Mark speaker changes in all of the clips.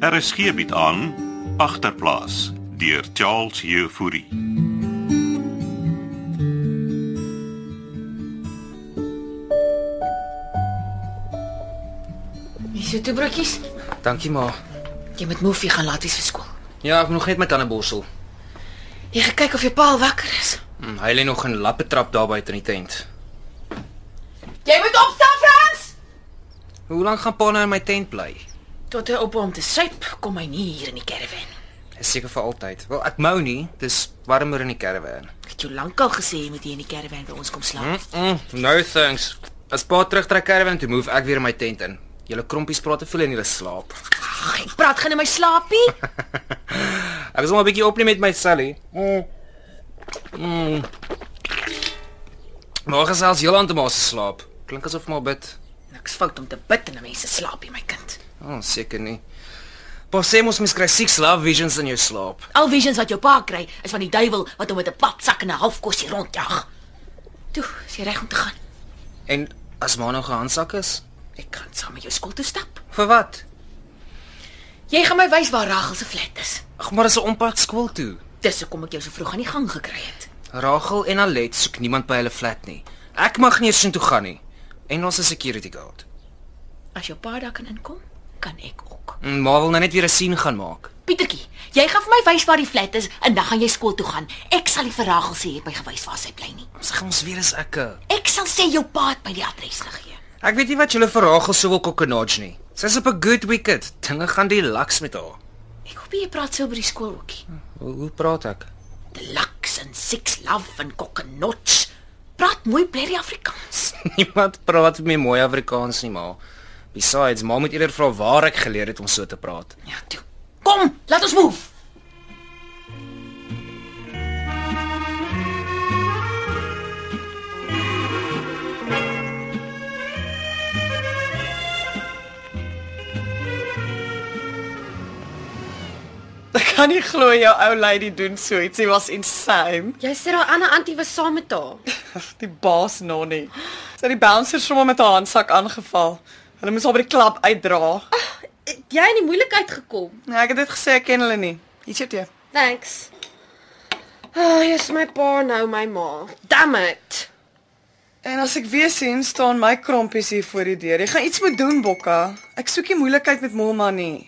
Speaker 1: RSG bied Er aan agterplaas deur Charles Jefouri.
Speaker 2: Hier so toe broodjies.
Speaker 3: Dankie ma.
Speaker 2: Jy moet Moefie gaan laat wees vir skool.
Speaker 3: Ja, ek moet nog net my tande borsel.
Speaker 2: Jy gaan kyk of jou pa al wakker is.
Speaker 3: Hm, Hy lê nog 'n lappe trap daar buite in die tent.
Speaker 2: Jy moet opstaan, Frans.
Speaker 3: Hoe lank gaan pa nou in my tent bly?
Speaker 2: Tot hy op hom te suip, kom hy nie hier in die caravan.
Speaker 3: Is seker vir altyd. Wel, ek mou nie. Dis warmer in die karwaan.
Speaker 2: Ek het jou lankal gesê jy moet hier in die caravan by ons kom slaap.
Speaker 3: Mm, mm, no thanks. As pa terugtrek karwaan toe move ek weer in my tent in. Julle krompies praat te veel en julle slaap.
Speaker 2: Ag, ek praat gaan in my slaapie.
Speaker 3: Ek is nog 'n bietjie op nie met my Sally. Mm. Mm. Maar gesels heel aan te maar slaap. Klink asof maar bid.
Speaker 2: Niks fout om te bid in 'n mens se slaapie, my kind.
Speaker 3: Oh, seker nie. Pa sê mos mens kry six love visions in jou slaap.
Speaker 2: Al visions wat jou pa kry, is van die duiwel wat hom met 'n papsak en 'n halfkosie rondjag. Toe, is jy reg om te gaan?
Speaker 3: En as ma nou gehandsak is?
Speaker 2: Ek kan saam met jou skool toe stap.
Speaker 3: Vir wat?
Speaker 2: Jy gaan my wys waar Ragel se flat is.
Speaker 3: Ag, maar dis 'n ompad skool toe.
Speaker 2: Dis hoekom ek jou so vroeg aan die gang gekry het.
Speaker 3: Rachel en Alet soek niemand by hulle flat nie. Ek mag nie eens intoe gaan nie. En ons is 'n security guard.
Speaker 2: As jou pa daar kan inkom, kan ek ook.
Speaker 3: En ma wil nou net weer 'n sien gaan maak.
Speaker 2: Pietertjie, jy gaan vir my wys waar die flat is en dan gaan jy skool toe gaan. Ek sal die verragel sê het my gewys waar sy bly nie.
Speaker 3: Ons gaan ons weer eens ekke.
Speaker 2: Ek sal sê jou pa het my die adres gegee.
Speaker 3: Ek weet nie wat julle vir Rachel sou wil kokkenage nie. Sy's op 'n good wicket. Dinge gaan die laks met haar.
Speaker 2: Ek hoop jy praat so oor die skool ookie.
Speaker 3: Hoe, hoe praat ek?
Speaker 2: Deluxe en six love en kokkenotch. Praat mooi blerry Afrikaans.
Speaker 3: Niemand praat meer mooi Afrikaans nie, ma. Besides, ma moet eerder vra waar ek geleer het om so te praat.
Speaker 2: Ja, toe. Kom, laat ons move.
Speaker 4: Ek kan nie glo jou ou lady doen so iets. Sy was insane.
Speaker 5: Jy sê daai ander antie was saam met haar.
Speaker 4: Die baas nonnie. Sy het die bouncers sommer met haar handsak aangeval. Hulle moes haar by die klub uitdra.
Speaker 5: Het Jy het in die moeilikheid gekom.
Speaker 4: Nee, ek het dit gesê ek ken hulle nie. Hier's jou tee.
Speaker 5: Thanks. Ag, oh, jy's my pa nou, my ma. Damn it.
Speaker 4: En as ek weer sien staan my krompies hier voor die deur. Jy gaan iets moet doen, Bokka. Ek soek nie moeilikheid met Molma nie.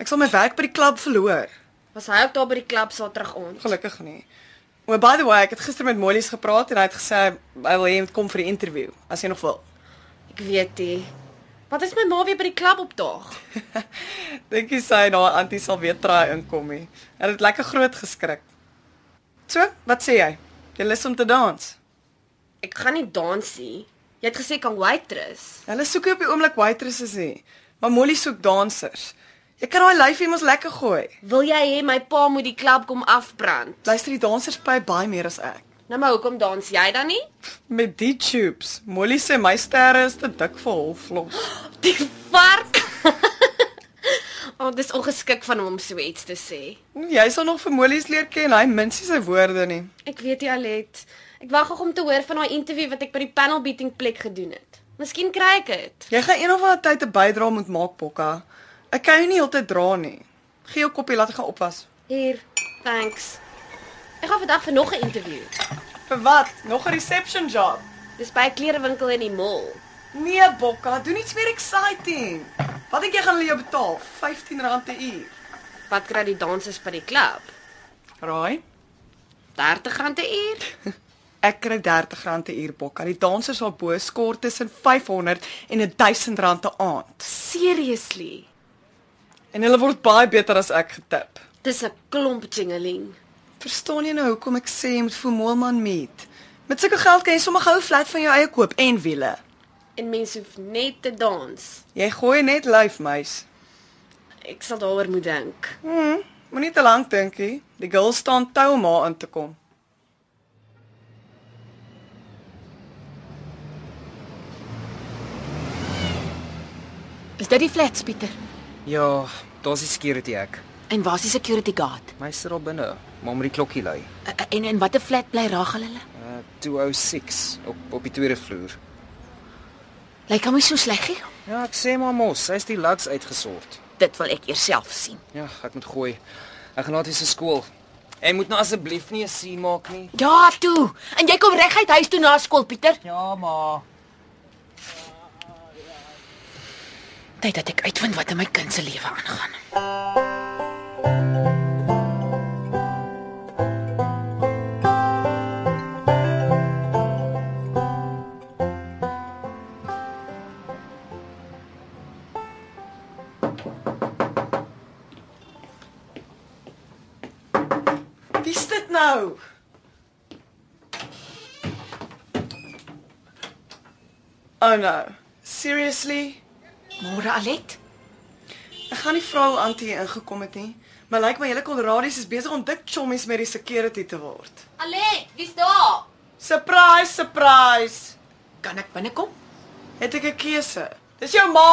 Speaker 4: Ek sal my werk by die klub verloor.
Speaker 5: Was hy ook daar by die klub saal terug ons?
Speaker 4: Gelukkig nie. Maar by the way, ek het gister met Mollies gepraat en hy het gesê hy wil hê jy moet kom vir die onderhoud as jy nog wil.
Speaker 5: Ek weet nie. Wat is my ma weer by die klub opdaag?
Speaker 4: Dink jy sy en haar antie sal weer try inkom nie? Hulle het lekker groot geskrik. So, wat sê jy? Jy lus om te dans?
Speaker 5: Ek gaan nie dans nie. Jy het gesê kan waitress.
Speaker 4: Hulle soek op die oomblik waitresses nie, maar Molly soek dansers. Jy kan daai lyfie mos lekker gooi.
Speaker 5: Wil jy hê my pa moet die klub kom afbrand?
Speaker 4: Luister, die dansers py baie meer as ek.
Speaker 5: Nou maar hoekom dans jy dan nie?
Speaker 4: Met die tubes. Molly sê my sterre is te dik vir hul vlos.
Speaker 5: Die vark. O, oh, dis ongeskik van hom om so iets te sê.
Speaker 4: Jy sal nog vir Mollies leer ken, hy mins nie sy woorde nie.
Speaker 5: Ek weet jy Alet. Ek wag nog om te hoor van daai onderhoud wat ek by die panel beating plek gedoen het. Miskien kry ek dit.
Speaker 4: Jy gaan een of ander tyd 'n bydrae moet maak, Bokka. Ek kan jou nie heeltyd dra nie. Gee jou koppie laat ek gaan opwas.
Speaker 5: Hier. Thanks. Ek gaan vandag vir nog 'n onderhoud.
Speaker 4: Vir wat? Nog 'n reception job?
Speaker 5: Dis by 'n klerewinkel in die mall.
Speaker 4: Nee, Bokka, doen iets meer exciting. Wat dink jy gaan hulle jou betaal? R15 'n uur.
Speaker 5: Wat kry die dansers by die klub?
Speaker 4: Raai.
Speaker 5: R30 'n uur?
Speaker 4: Ek kry R30 'n uur, Bokka. Die dansers sal bo skort tussen 500 en R1000 'n aand.
Speaker 5: Seriously?
Speaker 4: En hulle word baie beter as ek getip.
Speaker 5: Dis 'n klomp jingeling.
Speaker 4: Verstaan jy nou hoekom ek sê jy moet vir Moelman meet? Met sulke geld kan jy sommer gou 'n flat van jou eie koop en wiele.
Speaker 5: En mense hoef net te dans.
Speaker 4: Jy gooi net lyf, meis.
Speaker 5: Ek sal daaroor moet dink.
Speaker 4: Hm, moenie te lank dink nie. Die girls staan tou om haar in te kom.
Speaker 2: Is dit die flats, Pieter?
Speaker 3: Ja, daar's die security hek.
Speaker 2: En waar is die security guard?
Speaker 3: My sit daar binne, maar met die klokkie lui.
Speaker 2: Uh, uh, En in watter flat bly Ragel hulle?
Speaker 3: Uh 206 op op die tweede vloer.
Speaker 2: Lyk hom nie so sleg nie.
Speaker 3: Ja, ek sê maar mos, sy's die laks uitgesort.
Speaker 2: Dit wil ek eers self sien.
Speaker 3: Ja, ek moet gooi. Ek gaan laat hier se skool. Jy moet nou asseblief nie 'n sien maak nie.
Speaker 2: Ja, toe. En jy kom reguit huis toe na skool, Pieter.
Speaker 6: Ja, ma.
Speaker 2: Tyd dat ek uitvind wat in my kind se lewe aangaan.
Speaker 4: Wie's dit nou? Oh no. Seriously?
Speaker 2: Môre Alet?
Speaker 4: Ek gaan nie vra hoe Antie ingekom het nie, maar lyk like my hele Kolderadies is besig om dik chommies met die security te word.
Speaker 5: Alet, wie's daar?
Speaker 4: Surprise, surprise.
Speaker 2: Kan ek binnekom?
Speaker 4: Het ek 'n keuse? Dis jou ma.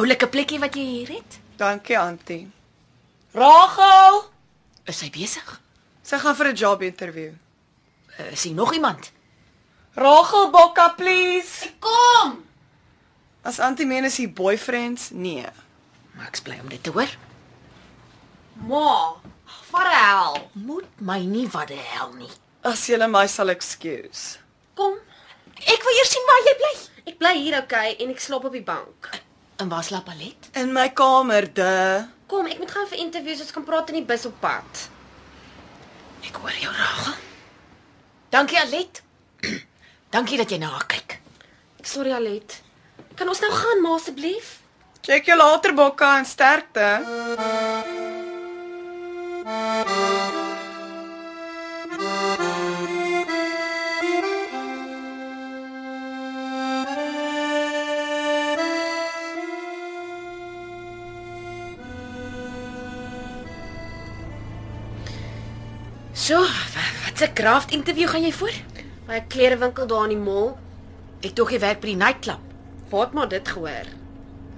Speaker 2: Oulike plekkie wat jy hier het?
Speaker 4: Dankie, Antie. Rachel,
Speaker 2: Is hy besig?
Speaker 4: sy gaan vir 'n job interview.
Speaker 2: Uh, Is hier nog iemand?
Speaker 4: Rachel Bokka, please.
Speaker 5: Kom.
Speaker 4: As Antie meen is hy boyfriends? Nee.
Speaker 2: Maar ek is bly om dit te hoor.
Speaker 5: Ma, vat hel.
Speaker 2: Moet my nie wat die hel nie.
Speaker 4: As jy my sal excuse.
Speaker 5: Kom.
Speaker 2: Ek wil eers sien waar jy bly.
Speaker 5: Ek bly hier, okay, en ek slaap op die bank.
Speaker 2: En waar slaap Alet?
Speaker 4: In my kamer, de.
Speaker 5: Kom, ek moet gaan vir interviews, ons kan praat in die bus op pad.
Speaker 2: Ek hoor jou, Rachel. Dankie Alet. Dankie dat jy na haar kyk.
Speaker 5: Sorry Alet. Kan ons nou gaan, ma asseblief?
Speaker 4: Check jou later Bokka en sterkte.
Speaker 2: So, wa- wat 'n craft onderhoud gaan jy voor?
Speaker 5: By 'n klerewinkel daar in die mall.
Speaker 2: Ek tog jy werk by die nightclub.
Speaker 5: Waar het maar dit gehoor?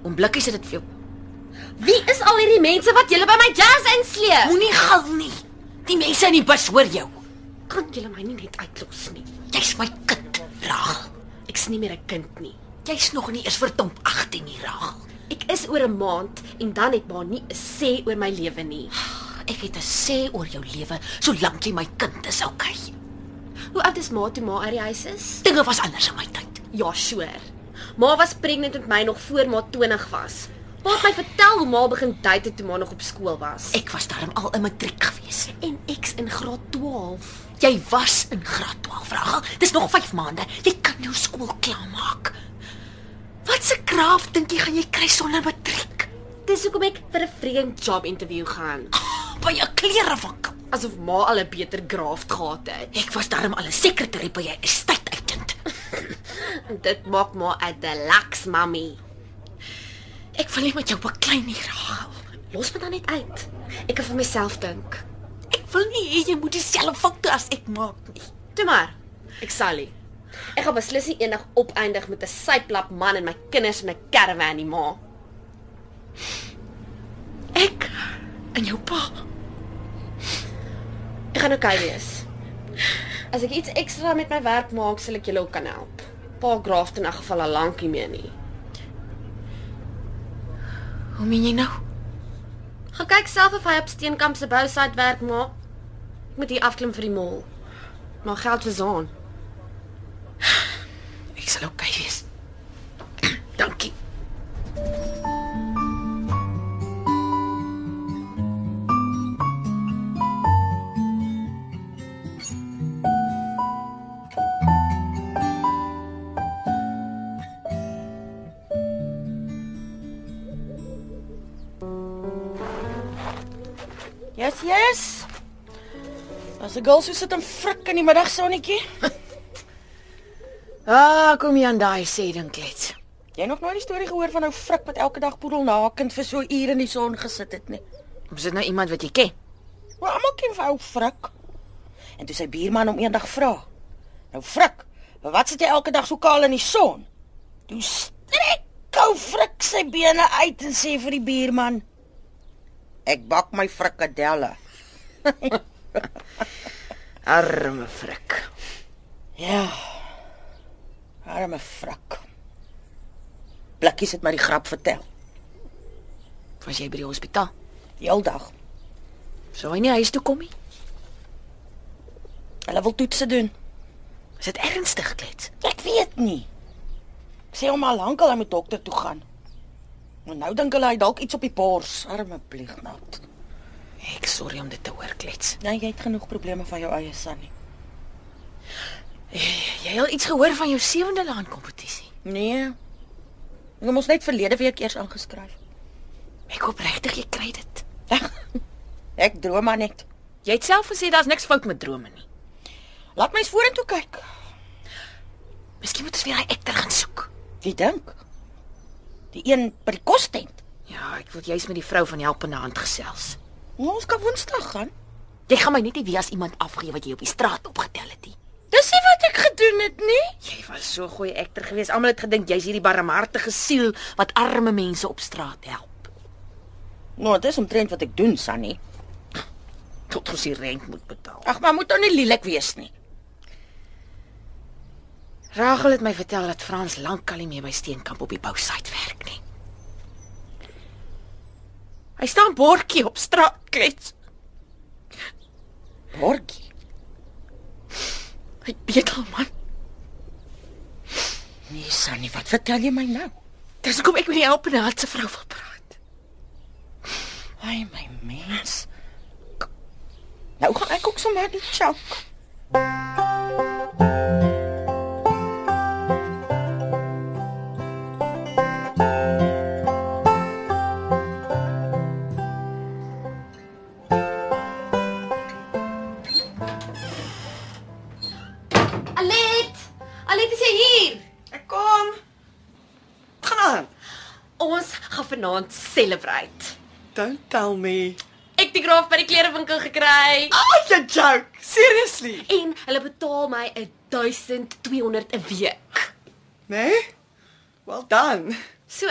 Speaker 2: Om blikkies het dit vir jou.
Speaker 5: Wie is al hierdie mense wat julle by my jazz insleep?
Speaker 2: Moenie gil nie. Die mense in die bus hoor jou.
Speaker 5: Kan julle my nie net uitlos nie?
Speaker 2: Jy's my kind, Rachel.
Speaker 5: Ek's nie meer 'n kind nie.
Speaker 2: Jy's nog nie eens verdomp 18 nie, Rachel.
Speaker 5: Ek is oor 'n maand en dan het maar nie 'n sê oor my lewe nie.
Speaker 2: Ek het 'n sê oor jou lewe solank jy my kind is, okay?
Speaker 5: Hoe oud is ma toe ma uit die huis is?
Speaker 2: Dinge was anders in my tyd.
Speaker 5: Ja, sure. Ma was pregnant met my nog voor ma 20 was. Ma het my vertel hoe ma begin date het toe ma nog op skool was.
Speaker 2: Ek was daarom al in matriek gewees.
Speaker 5: en ek's in graad 12.
Speaker 2: Jy was in graad 12, Rachel. Dis nog 5 maande. Jy kan jou skool klaarmaak. Wat se kraaf dink jy gaan jy kry sonder matriek?
Speaker 5: Dis hoekom ek vir 'n freaking job onderhoud gaan.
Speaker 2: By 'n klerewinkel.
Speaker 5: Asof ma al 'n beter graft gehad het.
Speaker 2: Ek was daarom al 'n sekretary by 'n estate agent.
Speaker 5: En dit maak ma 'n deluxe mummy.
Speaker 2: Ek wil nie met jou beklei nie, Rachel.
Speaker 5: Los my dan net uit. Ek kan vir myself dink.
Speaker 2: Ek wil nie hê jy moet dieselfde foute as ek maak nie.
Speaker 5: Toe maar. Ek sal nie. Ek gaan beslis nie eendag opeindig met 'n syplap man en my kinders in 'n caravan nie, ma.
Speaker 2: Ek en jou pa.
Speaker 5: Ek gaan okay wees. As ek iets ekstra met my werk maak, sal ek julle ook kan help. Pa graft in 'n geval al lank nie meer nie.
Speaker 2: Hoe meen jy nou?
Speaker 5: Gaan kyk self of hy op Steenkamp se bousite werk maak. Ek moet hier afklim vir die mall. Maar geld versaan.
Speaker 2: Ek sal okay wees. Dankie.
Speaker 6: Yes, yes. As 'n girl sou sit en frik in die middag sonnetjie.
Speaker 2: Ah, kom jy aan daai sê dink dit.
Speaker 6: Jy het nog nooit die storie gehoor van ou frik wat elke dag poedel nakend vir so ure in die son gesit het nie.
Speaker 2: Is dit nou iemand wat jy ken?
Speaker 6: Maar almal ken vir ou frik. En toe sy buurman hom eendag vra: "Nou frik, wat sit jy elke dag so kaal in die son?" Toe strek ou frik sy bene uit en sê vir die buurman: "Ek bak my frikadelle."
Speaker 2: Arme frik.
Speaker 6: Ja. Arme frik. Blikkies het my die grap vertel.
Speaker 2: Was jy by die hospitaal?
Speaker 6: Heeldag.
Speaker 2: Sou hy nie huis toe kom nie?
Speaker 6: Hulle wil toetse doen.
Speaker 2: Is dit ernstig klets?
Speaker 6: Ek weet nie. Ek Sê hom al lank al hy moet dokter toe gaan. Maar nou dink hulle hy het dalk iets op die bors, arme pleegnaat.
Speaker 2: Ek sorry om dit te hoor klets.
Speaker 6: Nou jy het genoeg probleme van jou eie Sunny.
Speaker 2: Jy het al iets gehoor van jou sewende laan kompetisie?
Speaker 6: Nee. Ek het mos net verlede week eers aangeskryf.
Speaker 2: Ek hoop regtig jy kry dit.
Speaker 6: Ag, Ek droom maar net.
Speaker 2: Jy het self gesê daar's niks fout met drome nie.
Speaker 6: Laat my eens vorentoe kyk.
Speaker 2: Miskien moet ons weer daai ekter gaan soek.
Speaker 6: Wie dink? Die een by die kostent.
Speaker 2: Ja, ek wil juis met die vrou van die helpende hand gesels.
Speaker 6: Ons kan Woensdag gaan.
Speaker 2: Jy gaan my net nie weer as iemand afgee wat jy op die straat opgetel het nie.
Speaker 6: Dis nie wat ek gedoen het nie.
Speaker 2: Jy was so goeie ekter geweest. Almal het gedink jy's hierdie barmhartige siel wat arme mense op straat help.
Speaker 6: Nou, dis omtrent wat ek doen, Sunny.
Speaker 2: Tot ons die rent moet betaal.
Speaker 6: Ag, maar moet nou nie lelik wees nie.
Speaker 2: Rachel het my vertel dat Frans lankal nie meer by Steenkamp op die bousite werk nie. Hy staan bordjie op straat klets.
Speaker 6: Borgie.
Speaker 2: Hy bedel man.
Speaker 6: Nee, Sunny, wat vertel jy my nou?
Speaker 2: Dis hoekom ek met die helpende hand se vrou wil praat.
Speaker 6: Ai my mens. Nou gaan ek ook sommer die chok.
Speaker 5: Alet! Alet is jy hier?
Speaker 4: Ek kom. Wat gaan aan?
Speaker 5: Ons gaan vanaand celebrate.
Speaker 4: Don't tell me.
Speaker 5: Ek het die graaf by die klerewinkel gekry
Speaker 4: Oh, you joke. Seriously?
Speaker 5: en hulle betaal my 1200 'n week.
Speaker 4: Nee? Well done.
Speaker 5: So,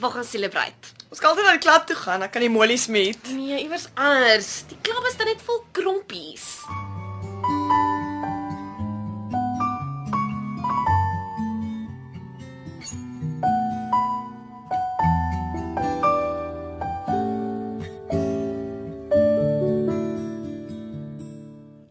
Speaker 5: waar gaan celebrate?
Speaker 4: Ons kan altyd na die klub toe gaan, dan kan die molies meet.
Speaker 5: Nee, iewers anders. Die klub is dan net vol krompies.